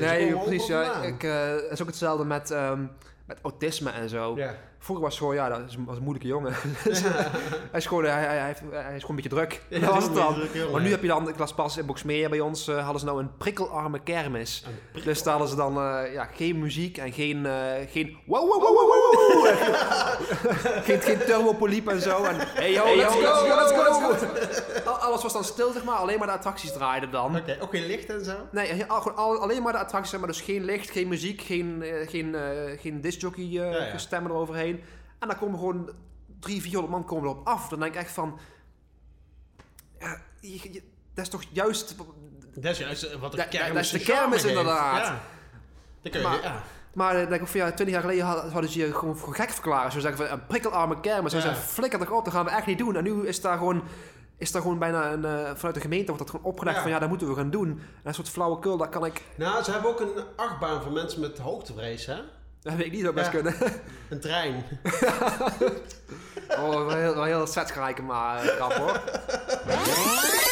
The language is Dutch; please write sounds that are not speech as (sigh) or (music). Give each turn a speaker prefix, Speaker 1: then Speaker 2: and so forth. Speaker 1: Nee,
Speaker 2: Kom,
Speaker 1: precies.
Speaker 2: waar
Speaker 1: Ja,
Speaker 2: komt het
Speaker 1: ik, eh, het is ook hetzelfde met, ehm, met autisme en zo.
Speaker 2: Ja.
Speaker 1: Vroeger was het gewoon, ja, dat is, was een moeilijke (laughs) jongen. Dus, hij, is gewoon, hij, hij, hij heeft- hij is gewoon een beetje druk.
Speaker 3: Ja,
Speaker 1: dat was het dan.
Speaker 3: druk, jongen.
Speaker 1: Maar nu heb je dan, ik las pas in Boxmeer bij ons, eh, hadden ze nou een prikkelarme kermis.
Speaker 2: Een
Speaker 1: Dus daar hadden ze dan eh, ja, geen muziek en geen, eh, geen wow, wow, wow, wow, wow, wow. (laughs) geen, geen turbopoliep en zo. En hey yo, let's, go, let's go, let's go. Al- Alles was dan stil, zeg maar. Alleen maar de attracties draaiden dan.
Speaker 3: Oké, ook geen licht en zo.
Speaker 1: Nee, he- al- gewoon al- alleen maar de attracties, zeg maar dus geen licht, geen muziek, geen, eh, geen, eh geen discjockey eh,
Speaker 3: Ja, ja.
Speaker 1: stemmen eroverheen. En dan komen gewoon drie, 400 man komen erop af. Dan denk ik echt van, ja, je- je- dat is toch juist...
Speaker 3: Dat is juist eh, wat de
Speaker 1: Dat- dat-
Speaker 3: kermis
Speaker 1: dat is de
Speaker 3: zijn charme
Speaker 1: kermis
Speaker 3: geeft.
Speaker 1: inderdaad.
Speaker 3: Ja. Dat kun je,
Speaker 1: Maar-
Speaker 3: ja.
Speaker 1: Maar dan denk ik van, ja, 20 jaar geleden had- hadden ze je gewoon voor gek verklaren. Ze zeggen van, een prikkelarme kermis. Ze
Speaker 3: Ja.
Speaker 1: zeggen, flikker toch op, dat gaan we echt niet doen. En nu is daar gewoon... Is daar gewoon bijna een, eh, vanuit de gemeente wordt dat gewoon opgelegd
Speaker 3: Ja.
Speaker 1: van ja, dat moeten we gaan doen. En dat soort flauwekul, dat kan ik,
Speaker 3: Nou, ze hebben ook een achtbaan voor mensen met hoogtevrees, hè?
Speaker 1: dat weet ik niet zo best
Speaker 3: Ja.
Speaker 1: kunnen.
Speaker 3: Een trein.
Speaker 1: Oh, wel heel, wel heel setsgelijke maar eh, grap hoor.